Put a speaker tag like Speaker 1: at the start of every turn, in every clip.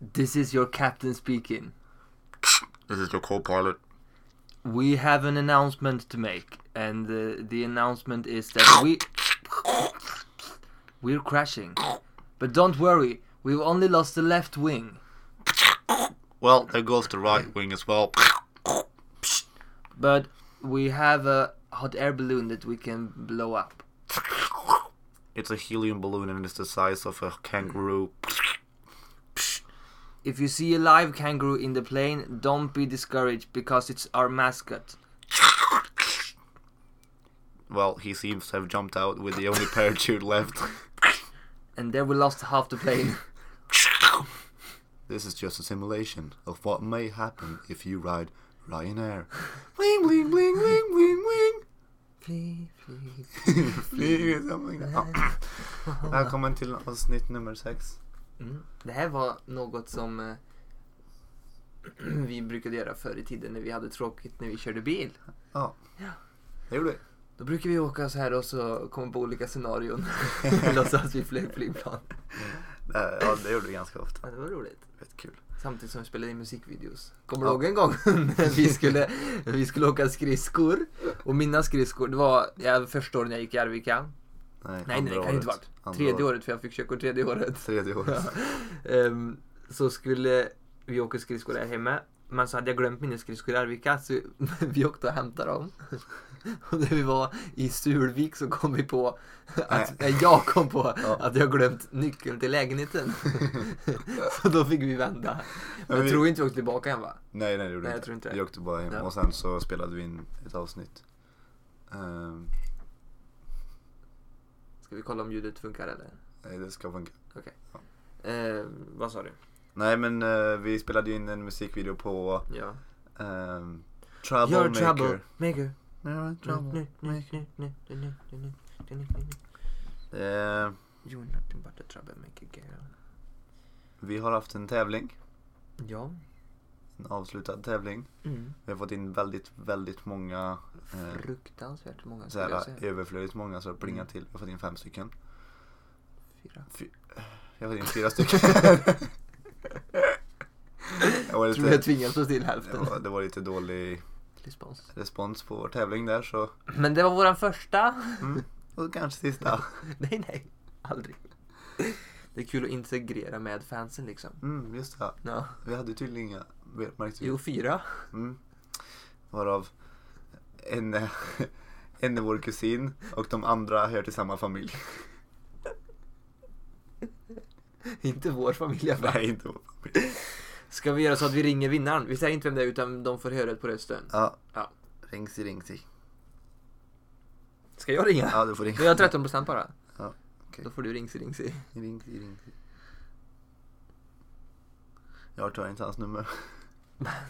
Speaker 1: This is your captain speaking.
Speaker 2: This is your co-pilot.
Speaker 1: We have an announcement to make, and uh, the announcement is that we we're crashing. But don't worry, we've only lost the left wing.
Speaker 2: Well, there goes the right wing as well.
Speaker 1: But we have a hot air balloon that we can blow up.
Speaker 2: It's a helium balloon and it's the size of a kangaroo.
Speaker 1: If you see a live kangaroo in the plane, don't be discouraged because it's our mascot.
Speaker 2: Well, he seems to have jumped out with the only parachute left.
Speaker 1: And there we lost half the plane.
Speaker 2: This is just a simulation of what may happen if you ride Ryanair. Bling, bling, bling, bling, bling, bling.
Speaker 1: Fly, fly,
Speaker 2: Flyger something. Oh. Välkommen till avsnitt nummer sex.
Speaker 1: Mm. Det här var något som eh, vi brukade göra förr i tiden när vi hade tråkigt när vi körde bil.
Speaker 2: Ja.
Speaker 1: Ja.
Speaker 2: Det gjorde vi.
Speaker 1: Då brukar vi åka så här och så komma på olika scenarion. Låtsas att vi flög flygplan.
Speaker 2: Eh, Ja, det gjorde vi ganska ofta.
Speaker 1: Ja, det var roligt.
Speaker 2: Rätt kul.
Speaker 1: Samtidigt som vi spelade in musikvideos. Kommer du
Speaker 2: Ja.
Speaker 1: ihåg en gång när vi skulle, vi skulle åka skridskor? Och mina skridskor, det var ja, första året jag gick i Arvika. Nej, nej, det kan det inte varit. Tredje året, för jag fick körkort tredje året.
Speaker 2: Tredje året.
Speaker 1: Ehm, så skulle vi åka skridskor där hemma. Men så hade jag glömt mina skridskor i Arvika så vi åkte och hämtade dem. Och när vi var i Sulvik så kom vi på att, nej, jag kom på
Speaker 2: Ja.
Speaker 1: att jag glömt nyckeln till lägenheten. Så då fick vi vända. Men jag
Speaker 2: vi-
Speaker 1: tror inte vi åkte tillbaka hem va?
Speaker 2: Nej, nej det gjorde
Speaker 1: Nej,
Speaker 2: vi
Speaker 1: jag
Speaker 2: inte.
Speaker 1: tror inte det.
Speaker 2: Vi åkte bara hem
Speaker 1: Ja.
Speaker 2: och sen så spelade vi in ett avsnitt. Ehm,
Speaker 1: Ska vi kolla om ljudet funkar eller?
Speaker 2: nej, det ska funka.
Speaker 1: Ehm, vad sa du?
Speaker 2: Nej, men eh, vi spelade ju in en musikvideo på
Speaker 1: Ja.
Speaker 2: um,
Speaker 1: You're
Speaker 2: Troublemaker.
Speaker 1: trouble Mm, maker.
Speaker 2: You're
Speaker 1: Nu, nu,
Speaker 2: troublemaker.
Speaker 1: nu, nu, nu, nu, nu, nu, nu, nu.
Speaker 2: Eh,
Speaker 1: You're nothing but a troublemaker girl.
Speaker 2: vi har haft en tävling.
Speaker 1: Ja.
Speaker 2: En avslutad tävling.
Speaker 1: Mm.
Speaker 2: Vi har fått in väldigt, väldigt många eh,
Speaker 1: Fruktansvärt många
Speaker 2: så
Speaker 1: skulle jag
Speaker 2: här,
Speaker 1: säga.
Speaker 2: överflödigt många så det plingar
Speaker 1: Mm.
Speaker 2: till. Jag har fått in fem stycken. eh,
Speaker 1: Fyra.
Speaker 2: Jag har fått in fyra stycken. jag var
Speaker 1: Jag tror jag
Speaker 2: lite,
Speaker 1: tvingas slå till
Speaker 2: det,
Speaker 1: hälften.
Speaker 2: var, det var lite dålig
Speaker 1: Respons.
Speaker 2: respons på vår tävling där så.
Speaker 1: Men det var våran första.
Speaker 2: Mm. Och kanske sista.
Speaker 1: nej, nej. Aldrig. Det är kul att integrera med fansen liksom.
Speaker 2: Mm, just det.
Speaker 1: Ja.
Speaker 2: Vi hade tydligen inga, märkte vi.
Speaker 1: Jo, fyra.
Speaker 2: Mm. Varav en, eh, en är vår kusin och de andra hör till samma familj.
Speaker 1: Inte vår familj.
Speaker 2: Nej, inte vår familj.
Speaker 1: Ska vi göra så att vi ringer vinnaren? Vi säger inte vem det är utan de får höra det på rösten.
Speaker 2: Ja.
Speaker 1: Ja.
Speaker 2: Ringsi, ringsi.
Speaker 1: Ska jag ringa?
Speaker 2: Ja, du får ringa.
Speaker 1: Jag har 13 procent bara.
Speaker 2: Ja, okej.
Speaker 1: Då får du ringsi ringsi.
Speaker 2: Ring, ring. Jag tar inte hans nummer.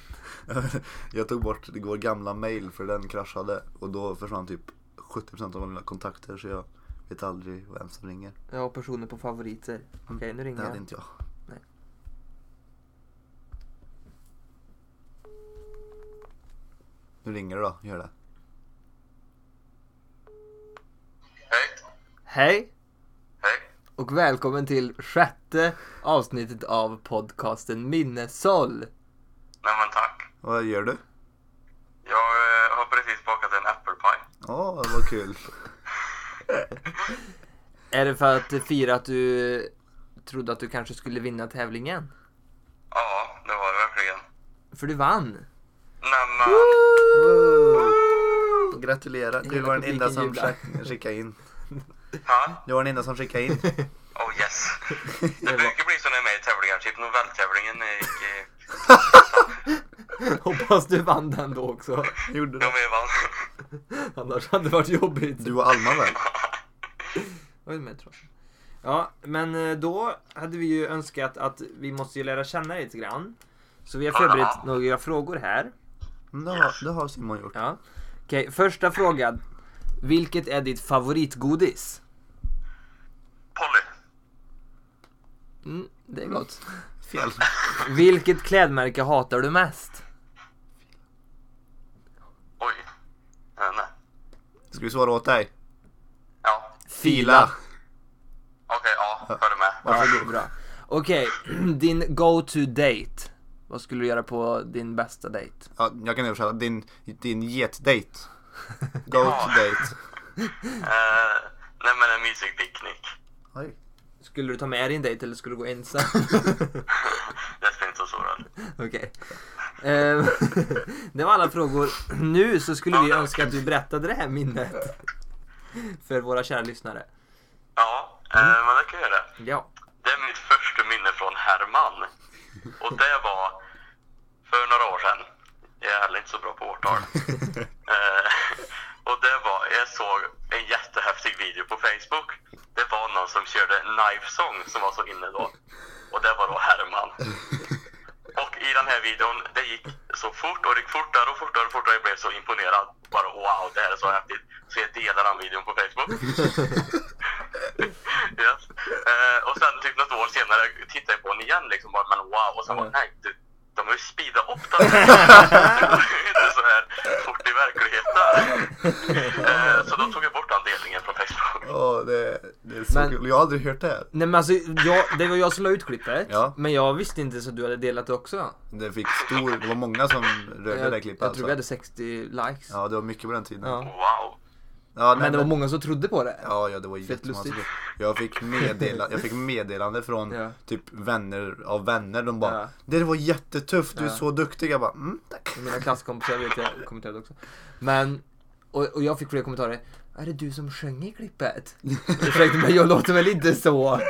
Speaker 2: jag tog bort vår gamla mail för den kraschade och då försvann typ 70% av mina kontakter så jag vet aldrig vem som ringer.
Speaker 1: Jag har personer på favoriter. Okej, nu
Speaker 2: Mm. Det
Speaker 1: ringer
Speaker 2: hade
Speaker 1: jag.
Speaker 2: inte jag.
Speaker 1: Nej.
Speaker 2: Nu ringer det då, gör det.
Speaker 3: Hej.
Speaker 1: Hej!
Speaker 3: Hej.
Speaker 1: Och välkommen till sjätte avsnittet av podcasten Minnesoll.
Speaker 3: Nej men tack.
Speaker 2: Vad gör du?
Speaker 3: Jag eh, har precis bakat en äppelpaj.
Speaker 2: Åh, vad kul.
Speaker 1: Är det för att fira att du trodde att du kanske skulle vinna tävlingen?
Speaker 3: Ja, det var det verkligen.
Speaker 1: För du vann!
Speaker 3: Nej men,
Speaker 2: Gratulerar, du
Speaker 1: Hela
Speaker 2: var den enda
Speaker 1: publiken
Speaker 2: som
Speaker 1: jublar.
Speaker 2: skick- skickade in.
Speaker 3: ha?
Speaker 2: Du var den enda som skickade in.
Speaker 3: Oh yes.
Speaker 1: var-
Speaker 3: Det brukar bli så när jag är med i tävlingar, typ novelltävlingen när jag gick i...
Speaker 1: Hoppas du vann den då också.
Speaker 2: Gjorde
Speaker 3: De är vann.
Speaker 1: Annars hade det varit jobbigt.
Speaker 2: Du och Alma väl?
Speaker 1: Oj, men jag tror- Ja, men eh, då hade vi ju önskat att vi måste ju lära känna dig lite grann. Så vi har förberett några frågor här.
Speaker 2: Mm, Det har, det har Simon gjort.
Speaker 1: Ja. Okej, första frågan. Vilket är ditt favoritgodis?
Speaker 3: Polly.
Speaker 1: Mm, det är gott.
Speaker 2: Fel.
Speaker 1: Vilket klädmärke hatar du mest?
Speaker 3: Oj. Nej, nej.
Speaker 2: Ska vi svara åt dig?
Speaker 3: Ja.
Speaker 2: Fila.
Speaker 3: Okej, ja. Följ med.
Speaker 1: Ja, det är bra. Okej, din go-to date. Vad skulle du göra på din bästa date?
Speaker 2: Ja, jag kan översätta. Din, din getdate. Goat
Speaker 3: Ja.
Speaker 2: date.
Speaker 3: Eh, nej men en mysig picknick.
Speaker 2: Oj.
Speaker 1: Skulle du ta med din date eller skulle du gå ensam?
Speaker 3: Jag ska inte vara sårad.
Speaker 1: Okej. Ehm, det var alla frågor. Nu så skulle vi önska att du berättade det här minnet. För våra kära lyssnare.
Speaker 3: Ja, eh, men det kan jag göra.
Speaker 1: Ja.
Speaker 3: Det är mitt första minne från Herman. Och det var för några år sedan. Jag är heller inte så bra på årtal. Eh, och det var, jag såg en jättehäftig video på Facebook. Det var någon som körde Knife Song som var så inne då. Och det var då Herman. Och i den här videon, det gick så fort och det gick fortare och fortare och fortare. Jag blev så imponerad. Bara wow, det här är så häftigt. Så jag delar den videon på Facebook. yes. Eh, och sen typ något år senare tittade jag på den igen liksom bara, men wow. Och sen bara, nej, du, de har ju speedat upp den här. Det går ju inte så här fort i verkligheten. Eh, så då tog jag bort den delningen från Facebook.
Speaker 2: Åh, det, det är så
Speaker 1: Men-
Speaker 2: kul. Jag har aldrig hört det här.
Speaker 1: Nej men alltså, jag, det var jag som la ut klippet.
Speaker 2: Ja.
Speaker 1: Men jag visste inte så du hade delat det också.
Speaker 2: Det fick stor... Det var många som rörde det
Speaker 1: Jag,
Speaker 2: där
Speaker 1: jag
Speaker 2: klippet
Speaker 1: tror vi
Speaker 2: alltså.
Speaker 1: hade 60 likes.
Speaker 2: Ja, det var mycket på den tiden.
Speaker 1: Ja.
Speaker 3: Wow.
Speaker 2: Ja, nej,
Speaker 1: Men det var många som trodde på det.
Speaker 2: Ja, ja, det var jättemånga som
Speaker 1: lustigt.
Speaker 2: jag fick, meddela, jag fick meddelande från
Speaker 1: Ja.
Speaker 2: typ vänner av vänner. De bara
Speaker 1: Ja.
Speaker 2: Det var jättetufft, du är
Speaker 1: Ja.
Speaker 2: så duktig. Jag bara mm, tack.
Speaker 1: Mina klasskompisar vet jag kommenterade också. Men, och, och jag fick flera kommentarer. Är det du som sjöng i klippet? Ursäkta men jag låter väl inte så?
Speaker 3: Nej,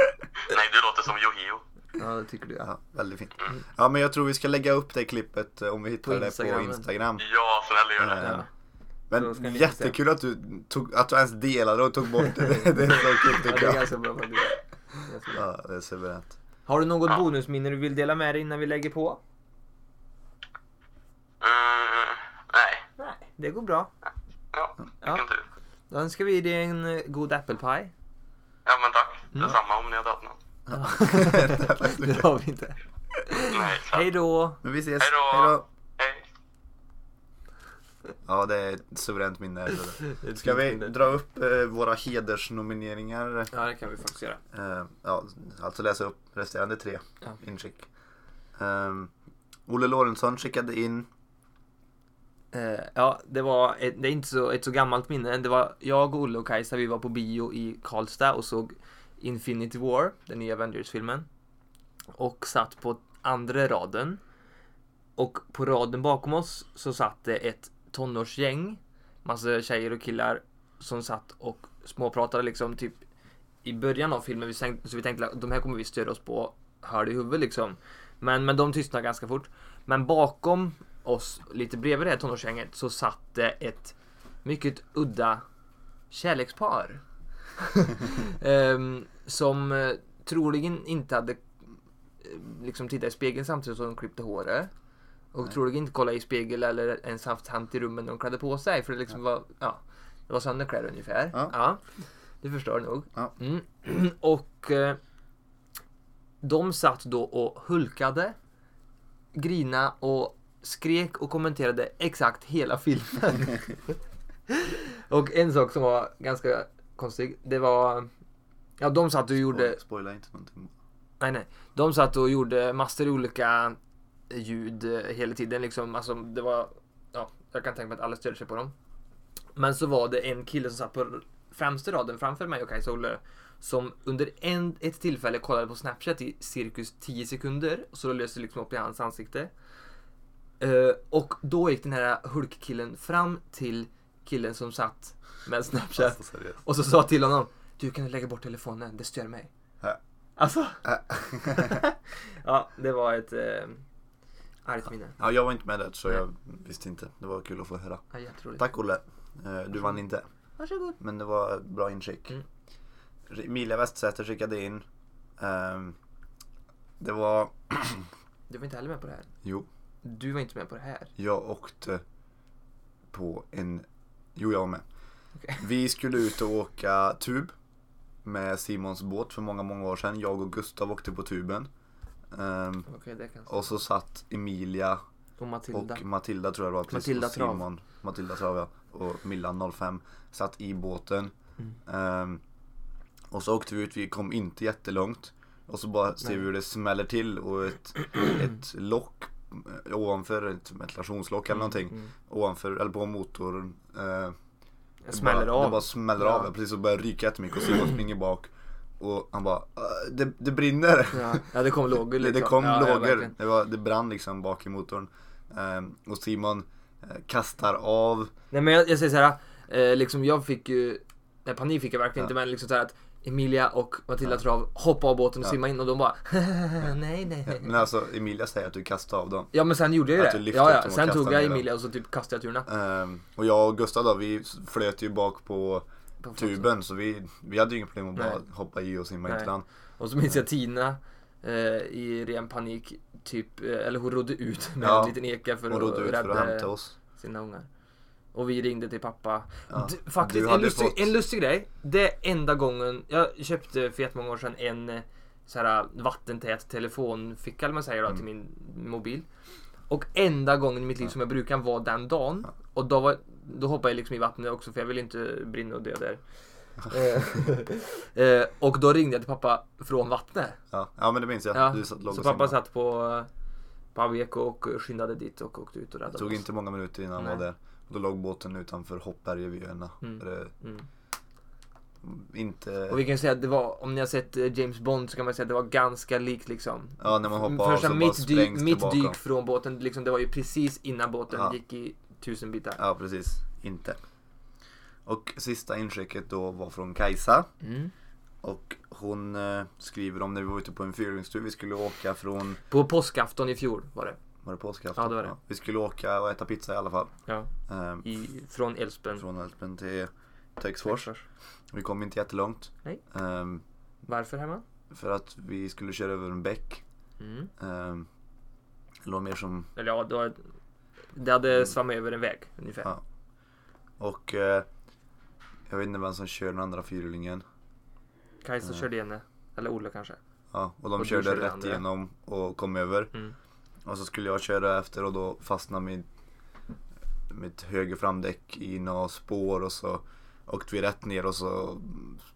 Speaker 3: du låter som Yohio.
Speaker 1: Ja det tycker du ja.
Speaker 2: Ja, väldigt fint. Ja, men jag tror vi ska lägga upp det klippet eh, om vi hittar
Speaker 1: På
Speaker 2: det på
Speaker 1: Instagram.
Speaker 2: Instagram.
Speaker 3: Ja, snälla gör det.
Speaker 1: ja. Då ska
Speaker 2: Men
Speaker 1: ni
Speaker 2: jättekul att du, tog, att du ens delade och tog bort det. Det är så kul
Speaker 1: Ja,
Speaker 2: tycker
Speaker 1: det är
Speaker 2: jag.
Speaker 1: ganska bra faktiskt. Ganska bra.
Speaker 2: Ja, det är suveränt.
Speaker 1: Har du något
Speaker 3: Ja.
Speaker 1: bonusminne du vill dela med dig innan vi lägger på?
Speaker 3: Mm, nej.
Speaker 1: Nej, det går bra.
Speaker 3: Ja, vilken tur.
Speaker 1: Då önskar vi dig en eh, god äppelpaj.
Speaker 3: Ja, men tack.
Speaker 1: Mm.
Speaker 3: Detsamma om ni hade haft någon.
Speaker 1: det har vi inte.
Speaker 3: Nej, tack.
Speaker 1: Hej då!
Speaker 2: Men vi ses.
Speaker 3: Hej då.
Speaker 2: Hejdå.
Speaker 3: Hej.
Speaker 2: Ja, det är ett suveränt minne. Ska vi dra upp eh, våra hedersnomineringar?
Speaker 1: Ja, det kan vi faktiskt göra.
Speaker 2: Eh, ja, alltså läsa upp resterande tre
Speaker 1: Ja.
Speaker 2: inskick. Eh, Olle Lorentzon skickade in,
Speaker 1: Eh, ja, det var ett, det är inte så, ett så gammalt minne. Det var jag, Olle och Kajsa, vi var på bio i Karlstad och såg Infinity War, den nya Avengers-filmen. Och satt på andra raden. Och på raden bakom oss så satt det ett tonårsgäng, massa tjejer och killar, som satt och småpratade liksom typ i början av filmen. Vi tänkte, så vi tänkte att de här kommer vi störa oss på hörde i huvudet liksom. Men, men de tystnade ganska fort. Men bakom oss, lite bredvid det här tonårsgänget, så satt det ett mycket udda kärlekspar. Ehm, som eh, troligen inte hade eh, liksom tittat i spegeln samtidigt som de klippte håret. Och troligen inte kollat i spegel eller ens haft hand i rummen när de klädde på sig. För det liksom var, ja, det var sömnkläder ungefär.
Speaker 2: Ja.
Speaker 1: du förstår nog.
Speaker 2: Ja.
Speaker 1: Mm. Och eh, de satt då och hulkade, grina och skrek och kommenterade exakt hela filmen. och en sak som var ganska konstig, det var... Ja, de satt och gjorde...
Speaker 2: Oj, spoila inte någonting.
Speaker 1: Nej, nej. De satt och gjorde massor av olika ljud eh, hela tiden liksom. Alltså det var, ja, jag kan tänka mig att alla störde sig på dem. Men så var det en kille som satt på främsta raden framför mig och Kajsa och Olle som under en, ett tillfälle kollade på Snapchat i cirkus 10 sekunder så det löste liksom upp i hans ansikte. Eh, och då gick den här Hulk-killen fram till killen som satt med Snapchat
Speaker 2: Alltså, seriöst.
Speaker 1: och så sa till honom Du kan du lägga bort telefonen, det stör mig.
Speaker 2: Ja.
Speaker 1: Alltså
Speaker 2: Äh.
Speaker 1: ja, det var ett eh, argt minne.
Speaker 2: ja, jag var inte med där så jag visste inte. Det var kul att få höra.
Speaker 1: Ja, jätteroligt.
Speaker 2: Tack Olle. Eh, Du vann inte,
Speaker 1: Varsågod.
Speaker 2: men det var ett bra inskick.
Speaker 1: Mm.
Speaker 2: Emilia Westsäter skickade in. Ehm, det var,
Speaker 1: Du var inte heller med på det här.
Speaker 2: jo,
Speaker 1: Du var inte med på det här.
Speaker 2: jag åkte på en, jo jag var med. Vi skulle ut och åka tub med Simons båt för många, många år sedan. Jag och Gustav åkte på tuben. Ehm,
Speaker 1: Okej, det kan jag
Speaker 2: och så satt Emilia
Speaker 1: Och Matilda.
Speaker 2: och Matilda tror jag det var. precis,
Speaker 1: Matilda
Speaker 2: och
Speaker 1: Trav.
Speaker 2: Simon, Matilda Trav ja. Och Millan 05
Speaker 1: Mm.
Speaker 2: satt i båten. Ehm, och så åkte vi ut, vi kom inte jättelångt. Och så bara ser vi hur det smäller till och ett, ett lock eh, ovanför, ett ventilationslock eller någonting,
Speaker 1: Mm.
Speaker 2: ovanför, eller på motorn. Eh,
Speaker 1: Jag smäller
Speaker 2: bara,
Speaker 1: av.
Speaker 2: Det bara smäller
Speaker 1: Ja.
Speaker 2: av, ja, precis. Och börjar ryka jättemycket och Simon springer bak. Och han bara, "Ah, det, det brinner!
Speaker 1: Ja. ja, det kom lågor
Speaker 2: Det,
Speaker 1: liksom.
Speaker 2: det kom
Speaker 1: ja, ja,
Speaker 2: lågor,
Speaker 1: verkligen.
Speaker 2: det, var, det brann liksom bak i motorn. Ehm, och Simon eh, kastar av,
Speaker 1: Nej men jag, jag säger såhär, eh, liksom jag fick ju, nej panik fick jag verkligen inte men liksom såhär att Emilia och Matilda Trav hoppade av båten och simmade in och de bara nej nej.
Speaker 2: men alltså Emilia säger att du kastar av dem.
Speaker 1: Ja men sen gjorde jag
Speaker 2: Att
Speaker 1: ju
Speaker 2: du
Speaker 1: det.
Speaker 2: lyfte
Speaker 1: Ja,
Speaker 2: upp
Speaker 1: ja.
Speaker 2: dem och
Speaker 1: Sen tog
Speaker 2: kastade
Speaker 1: jag
Speaker 2: ner dem.
Speaker 1: Emilia och så typ kastade jag turna.
Speaker 2: Ehm, och jag och Gustav då, vi flöt ju bak på
Speaker 1: På
Speaker 2: tuben så vi, vi hade ju inga problem att bara
Speaker 1: Nej.
Speaker 2: hoppa i och simma in
Speaker 1: Nej.
Speaker 2: till land.
Speaker 1: Och så minns jag Tina eh, i ren panik, typ, eh, eller hon rodde ut med
Speaker 2: Ja.
Speaker 1: en liten eka för
Speaker 2: Och rodde
Speaker 1: att
Speaker 2: ut för att hämta
Speaker 1: rädda
Speaker 2: oss.
Speaker 1: sina ungar. Och vi ringde till pappa.
Speaker 2: Ja.
Speaker 1: D- Faktiskt,
Speaker 2: Du
Speaker 1: en
Speaker 2: hade
Speaker 1: lustig,
Speaker 2: fått-
Speaker 1: en lustig grej. Det är enda gången, jag köpte för jättemånga år sedan en eh, så här, vattentät telefonficka eller vad man säger då, till
Speaker 2: Mm.
Speaker 1: min mobil. Och enda gången i mitt liv som jag brukar vara den dagen. Och då, var, då hoppade jag liksom i vattnet också för jag ville inte brinna och dö där. Eh, eh, och då ringde jag till pappa från vattnet.
Speaker 2: Ja. ja men det minns jag,
Speaker 1: Ja,
Speaker 2: du satt, låg
Speaker 1: så
Speaker 2: och
Speaker 1: pappa
Speaker 2: simmade.
Speaker 1: satt på, eh, på Abeko och skyndade dit och åkte ut och räddade
Speaker 2: Det tog
Speaker 1: oss.
Speaker 2: inte många minuter innan han
Speaker 1: Nej.
Speaker 2: var där. Då låg båten utanför Hoppbergevyöarna. Där det
Speaker 1: Mm.
Speaker 2: Inte...
Speaker 1: Och vi kan ju säga att det var, om ni har sett eh, James Bond så kan man säga att det var ganska likt liksom.
Speaker 2: Ja, när man hoppar av
Speaker 1: Första
Speaker 2: så bara
Speaker 1: mitt, dyk,
Speaker 2: sprängs
Speaker 1: mitt
Speaker 2: tillbaka.
Speaker 1: dyk från båten, liksom, det var ju precis innan båten
Speaker 2: Ja.
Speaker 1: gick i tusen bitar.
Speaker 2: Ja, precis. Inte. Och sista inskicket då var från Kajsa.
Speaker 1: Mm.
Speaker 2: Och hon eh, skriver om när vi var ute på en fyrhjulingstur. Vi skulle åka från,
Speaker 1: På påskafton i fjol var det.
Speaker 2: var det påskafton?
Speaker 1: Ja, det var det.
Speaker 2: Vi skulle åka och äta pizza i alla fall.
Speaker 1: Ja.
Speaker 2: Ehm,
Speaker 1: I, från Älvsbyn.
Speaker 2: från Älvsbyn till Töcksfors. Vi kom inte jättelångt.
Speaker 1: Nej.
Speaker 2: Ehm,
Speaker 1: Varför Herman?
Speaker 2: för att vi skulle köra över en bäck.
Speaker 1: Mm.
Speaker 2: Um, eller mer som
Speaker 1: Eller ja, det, var, det hade svammat över en väg ungefär.
Speaker 2: Mm. Ja. Och eh, jag vet inte vem som kör den andra fyrhjulingen.
Speaker 1: Kajsa
Speaker 2: Mm.
Speaker 1: körde igen det. Eller Olle kanske.
Speaker 2: Ja, och de
Speaker 1: Och du
Speaker 2: körde
Speaker 1: körde den
Speaker 2: rätt
Speaker 1: andra.
Speaker 2: igenom och kom över.
Speaker 1: Mm.
Speaker 2: Och så skulle jag köra efter och då fastnade mitt, mitt höger framdäck i några spår och så åkte vi rätt ner och så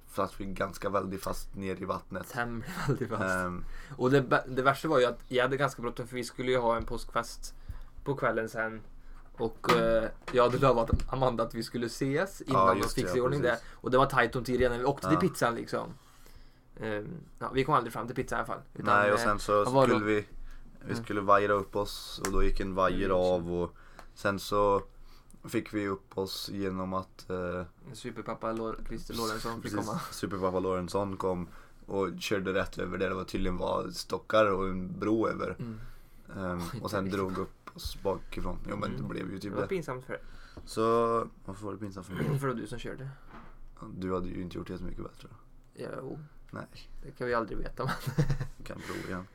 Speaker 2: satt vi ganska väldigt fast ner i vattnet.
Speaker 1: Tämligen väldigt fast.
Speaker 2: Ehm,
Speaker 1: Och det, bä- det värsta var ju att jag hade ganska bråttom för vi skulle ju ha en påskfest på kvällen sen. Och eh, jag hade lovat Amanda att vi skulle ses
Speaker 2: Ja,
Speaker 1: innan de
Speaker 2: just det,
Speaker 1: fixade i
Speaker 2: ja,
Speaker 1: ordning det.
Speaker 2: precis.
Speaker 1: Och det var tajt om tid redan när vi åkte
Speaker 2: Ja.
Speaker 1: till pizzan liksom. Ehm, ja, vi kom aldrig fram till pizzan i alla fall. Utan,
Speaker 2: nej, och
Speaker 1: eh,
Speaker 2: sen så
Speaker 1: vad var det
Speaker 2: skulle
Speaker 1: då? Mm.
Speaker 2: vi, vi skulle vajra upp oss och då gick en vajer av och sen så fick vi upp oss genom att eh,
Speaker 1: Superpappa Lor- Christer Lorentzon fick
Speaker 2: Precis,
Speaker 1: komma.
Speaker 2: Superpappa Lorentzon kom och körde rätt över där det var tydligen var stockar och en bro över.
Speaker 1: Mm.
Speaker 2: Ehm, och sen drog upp oss bakifrån. Jo men det blev ju
Speaker 1: Mm. Det
Speaker 2: typ
Speaker 1: var
Speaker 2: det.
Speaker 1: pinsamt för
Speaker 2: Så varför var det pinsamt för mig?
Speaker 1: för det var du som körde.
Speaker 2: Du hade ju inte gjort det så mycket bättre.
Speaker 1: Ja, Jo,
Speaker 2: Nej,
Speaker 1: det kan vi aldrig veta. men-
Speaker 2: vi kan prova igen.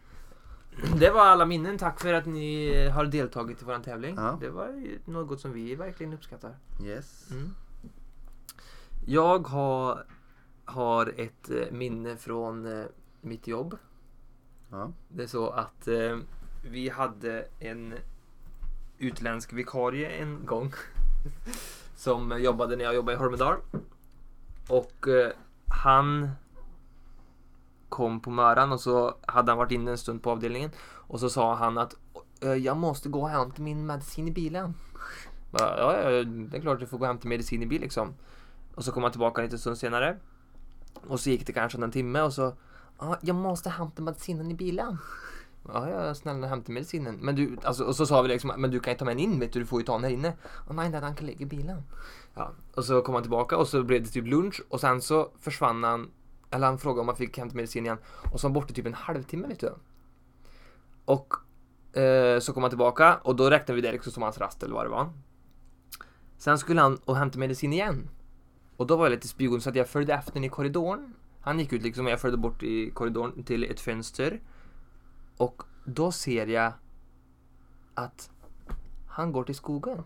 Speaker 1: Det var alla minnen. Tack för att ni har deltagit i vår tävling.
Speaker 2: Ja.
Speaker 1: Det var ju något som vi verkligen uppskattar.
Speaker 2: Yes.
Speaker 1: Mm. Jag har, har ett eh, minne från eh, mitt jobb.
Speaker 2: Ja.
Speaker 1: Det är så att eh, vi hade en utländsk vikarie en gång. Som jobbade när jag jobbade i Holmedal. Och eh, han kom på morgonen och så hade han varit inne en stund på avdelningen. Och så sa han att "Eh, jag måste gå och hämta min medicin i bilen. Bara, ja, ja, det är klart du får gå och hämta medicin i bil liksom. Och så kom han tillbaka lite stund senare. Och så gick det kanske en timme och så Ja, jag måste hämta medicinen i bilen. Ja, ja, snälla hämta medicinen. Men du, alltså, och så sa vi liksom, men du kan ju ta med den in vet du, du får ju ta den här inne. Och nej, nej, han kan ligga i bilen. Ja, och så kom han tillbaka och så blev det typ lunch och sen så försvann han, eller han frågade om han fick hämta medicin igen. Och så var han borta typ en halvtimme vet du. Och eh, så kom han tillbaka och då räknade vi det liksom som hans rast eller vad det var. Sen skulle han och hämta medicin igen. Och då var jag lite spygon så att jag följde efter honom i korridoren. Han gick ut liksom och jag följde bort i korridoren till ett fönster. Och då ser jag att han går till skogen.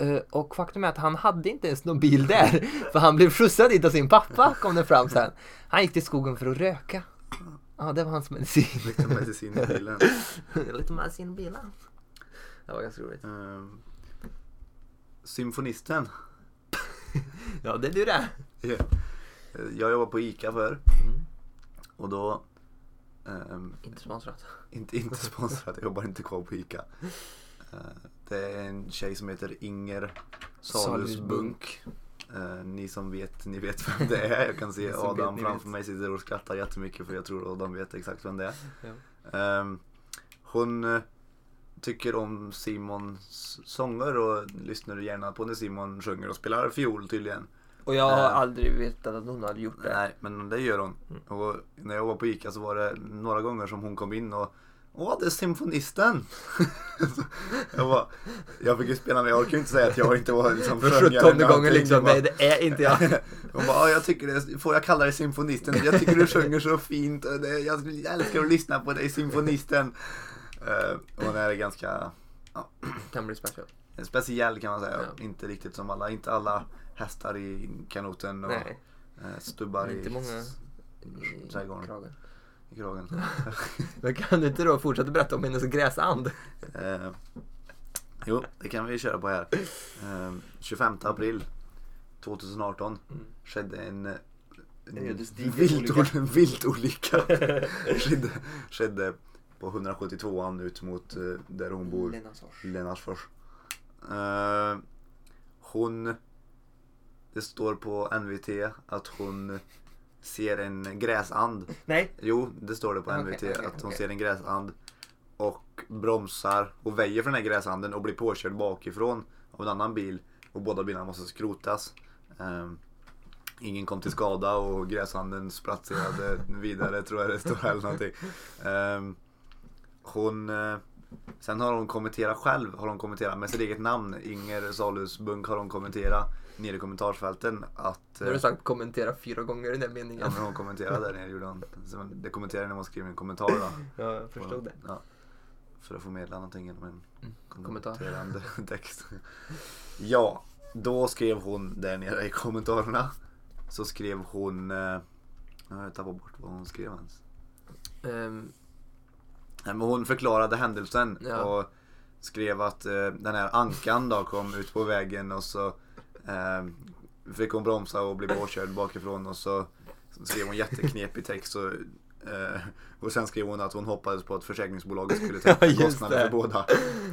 Speaker 1: Eh, och faktum är att han hade inte ens någon bil där. För han blev skjutsad dit av sin pappa kom det fram sen. Han gick till skogen för att röka. Ja, det var hans medicin.
Speaker 2: Lite medicin i bilen.
Speaker 1: lite medicin i bilen. Det var ganska roligt.
Speaker 2: Ehm, symfonisten.
Speaker 1: Ja, det är du det.
Speaker 2: Ja. Eh, Jag jobbade på ICA förr. Och då... ehm,
Speaker 1: Mm. Inte sponsrat.
Speaker 2: inte, inte sponsrat, jag jobbar inte kvar på ICA. Eh, det är en tjej som heter Inger Salusbunk. Eh, ni som vet, ni vet vem det är. Jag kan se
Speaker 1: Ni som vet,
Speaker 2: Adam
Speaker 1: ni
Speaker 2: framför
Speaker 1: vet.
Speaker 2: mig sitter och skrattar jättemycket för jag tror Adam vet exakt vem det är.
Speaker 1: Ja.
Speaker 2: Ehm, hon eh, tycker om Simons sånger och lyssnar gärna på när Simon sjunger och spelar fiol tydligen.
Speaker 1: Och jag har
Speaker 2: Eh.
Speaker 1: aldrig vetat att någon hade gjort det.
Speaker 2: Nej, men det gör hon.
Speaker 1: Mm.
Speaker 2: Och när jag var på ICA så var det några gånger som hon kom in och Åh, det är symfonisten! Så jag, bara, jag fick ju spela med, jag orkar ju inte säga att jag inte var liksom
Speaker 1: För
Speaker 2: sjöngare eller
Speaker 1: sjuttonde gången
Speaker 2: någonting.
Speaker 1: liksom.
Speaker 2: Jag bara-
Speaker 1: Nej, det är inte jag.
Speaker 2: Hon bara, "Ja, jag tycker det, får jag kalla dig symfonisten? Jag tycker du sjunger så fint och det, jag älskar att lyssna på dig, symfonisten. Eh, hon är ganska
Speaker 1: Kan bli special.
Speaker 2: speciell kan man säga,
Speaker 1: Ja.
Speaker 2: inte riktigt som alla, inte alla hästar i kanoten och
Speaker 1: Nej,
Speaker 2: eh, stubbar
Speaker 1: inte
Speaker 2: i,
Speaker 1: många
Speaker 2: i
Speaker 1: i
Speaker 2: Saigon.
Speaker 1: kragen.
Speaker 2: i kragen.
Speaker 1: Men kan du inte då fortsätta berätta om hennes gräsand?
Speaker 2: Eh, jo, det kan vi köra på här. Eh, 25 april 2018 skedde en, eh, en
Speaker 1: Ödesdiger
Speaker 2: viltolycka. viltolycka. skedde, skedde på 172an ut mot eh, där hon bor. Lennartsfors. Eh, hon... Det står på NVT att hon ser en gräsand.
Speaker 1: Nej.
Speaker 2: Jo, det står det på
Speaker 1: Okej,
Speaker 2: NVT
Speaker 1: okej,
Speaker 2: att hon
Speaker 1: okej.
Speaker 2: ser en gräsand och bromsar och väjer för den här gräsanden och blir påkörd bakifrån av en annan bil och båda bilarna måste skrotas. Ehm, ingen kom till skada och gräsanden spratserade vidare tror jag det står eller någonting. Ehm, hon, eh, sen har hon kommenterat själv, har hon kommenterat med sitt eget namn, Inger Salusbunk har hon kommenterat nere i kommentarsfälten att
Speaker 1: Nu har du
Speaker 2: eh,
Speaker 1: sagt kommentera fyra gånger i den meningen.
Speaker 2: Ja men hon kommenterade där nere gjorde hon. Så man- Det kommenterade när man skrev en kommentar då.
Speaker 1: Ja, jag
Speaker 2: Och-
Speaker 1: förstod det.
Speaker 2: Ja. För att förmedla någonting genom en
Speaker 1: kommentar.
Speaker 2: kommenterande text. Ja, då skrev hon där nere i kommentarerna. Så skrev hon... eh, Jag tappade bort vad hon skrev ens.
Speaker 1: Ehm,
Speaker 2: Nej, men hon förklarade händelsen
Speaker 1: Ja.
Speaker 2: och skrev att eh, den här ankan då kom ut på vägen och så eh, fick hon bromsa och blev påkörd bakifrån och så skrev hon jätteknepig text och, eh, och sen skrev hon att hon hoppades på att försäkringsbolaget skulle täcka
Speaker 1: just
Speaker 2: kostnader
Speaker 1: det.
Speaker 2: för båda.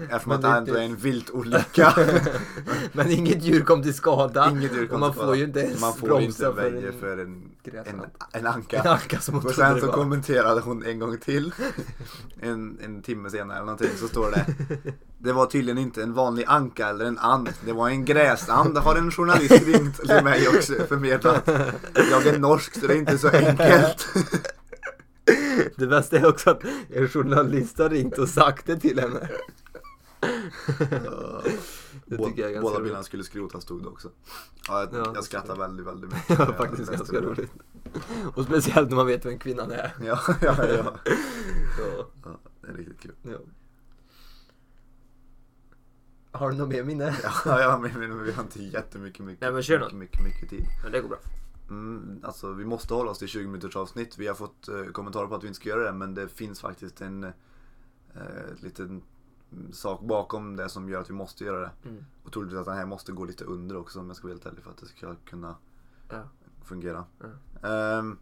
Speaker 2: Eftersom
Speaker 1: Men
Speaker 2: att
Speaker 1: det
Speaker 2: det
Speaker 1: är
Speaker 2: ändå
Speaker 1: inte-
Speaker 2: är en viltolycka.
Speaker 1: men inget djur kom till skada.
Speaker 2: Inget djur kom
Speaker 1: Och man
Speaker 2: till
Speaker 1: får
Speaker 2: skada.
Speaker 1: ju inte ens
Speaker 2: Man får
Speaker 1: bromsa
Speaker 2: inte
Speaker 1: för
Speaker 2: väja
Speaker 1: en,
Speaker 2: för en, en,
Speaker 1: gräsmatta.
Speaker 2: en anka.
Speaker 1: en anka som hon
Speaker 2: Och
Speaker 1: trodde
Speaker 2: sen
Speaker 1: det
Speaker 2: så
Speaker 1: var.
Speaker 2: kommenterade hon en gång till. En, en timme senare eller någonting så står det. Det var tydligen inte en vanlig anka eller en and. Det var en gräsand har en journalist ringt till mig också förmedlat. Jag är norsk så det är inte så enkelt.
Speaker 1: Det bästa är också att en journalist har ringt och sagt det till henne. Det tycker jag är ganska
Speaker 2: Båda
Speaker 1: roligt.
Speaker 2: bilarna skulle skrotas stod det också. Ja, jag,
Speaker 1: Ja, det
Speaker 2: jag skrattar väldigt, väldigt mycket.
Speaker 1: Det var
Speaker 2: när jag
Speaker 1: faktiskt
Speaker 2: läste
Speaker 1: ganska
Speaker 2: det.
Speaker 1: roligt. Och speciellt när man vet vem kvinnan är.
Speaker 2: Ja, ja, ja.
Speaker 1: Ja.
Speaker 2: ja, det är riktigt kul.
Speaker 1: Ja. Har du något mer minne?
Speaker 2: Ja, ja men, men vi har inte jättemycket, mycket,
Speaker 1: Nej, men kör
Speaker 2: mycket,
Speaker 1: då.
Speaker 2: mycket, mycket tid.
Speaker 1: Men det går bra.
Speaker 2: Mm, alltså vi måste hålla oss till 20 minuters avsnitt. Vi har fått eh, kommentarer på att vi inte ska göra det men det finns faktiskt en eh, liten mm, sak bakom det som gör att vi måste göra det.
Speaker 1: Mm.
Speaker 2: Och troligtvis att den här måste gå lite under också om jag ska vara helt ärlig för att det ska kunna
Speaker 1: Ja.
Speaker 2: fungera.
Speaker 1: Ja.
Speaker 2: Ehm,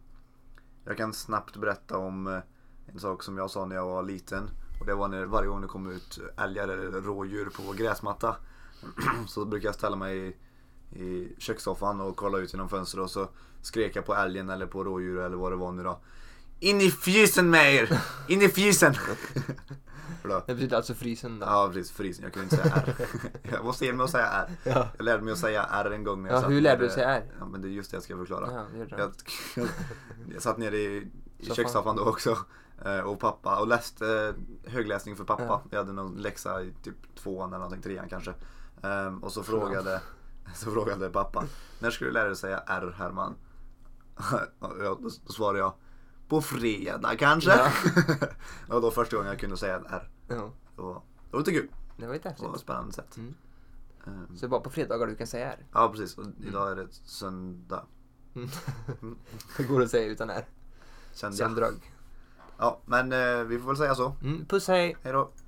Speaker 2: jag kan snabbt berätta om eh, en sak som jag sa när jag var liten. Och det var när varje gång det kom ut älgar eller rådjur på vår gräsmatta. så brukade jag ställa mig i, i kökssoffan och kolla ut genom fönstret och så skrek jag på älgen eller på rådjur eller vad det var nu då. In i fjusen med er! In i fjusen! För då-
Speaker 1: Det betyder alltså frysen då?
Speaker 2: Ja precis, frisen. Jag kunde inte säga R. jag var sen med att säga R.
Speaker 1: Ja.
Speaker 2: Jag lärde mig att säga R en gång när jag
Speaker 1: Ja,
Speaker 2: satt
Speaker 1: hur lärde du
Speaker 2: nere-
Speaker 1: dig R?
Speaker 2: Ja men det är just det jag ska förklara.
Speaker 1: Ja, det gjorde
Speaker 2: Jag,
Speaker 1: jag.
Speaker 2: jag satt nere i, i
Speaker 1: Soffan.
Speaker 2: kökssoffan då också eh, och pappa och läste eh, högläsning för pappa.
Speaker 1: Ja.
Speaker 2: Vi hade någon läxa i typ tvåan eller någonting, trean kanske. Ehm, och så frågade, så frågade pappa, när ska du lära dig säga R Herman? Och jag- Då svarade jag, på fredag kanske?
Speaker 1: Ja.
Speaker 2: det var då första gången jag kunde säga ett R.
Speaker 1: Ja.
Speaker 2: Det var, det var lite kul.
Speaker 1: Det var lite
Speaker 2: Det var ett
Speaker 1: häftigt.
Speaker 2: spännande sätt.
Speaker 1: Mm.
Speaker 2: Ehm,
Speaker 1: Så det är bara på fredagar du kan säga R?
Speaker 2: ja precis, och idag är det söndag.
Speaker 1: Mm. Det går att säga utan R.
Speaker 2: Söndag.
Speaker 1: Söndag.
Speaker 2: Ja, men eh, vi får väl säga så.
Speaker 1: Mm, puss hej!
Speaker 2: Hej då.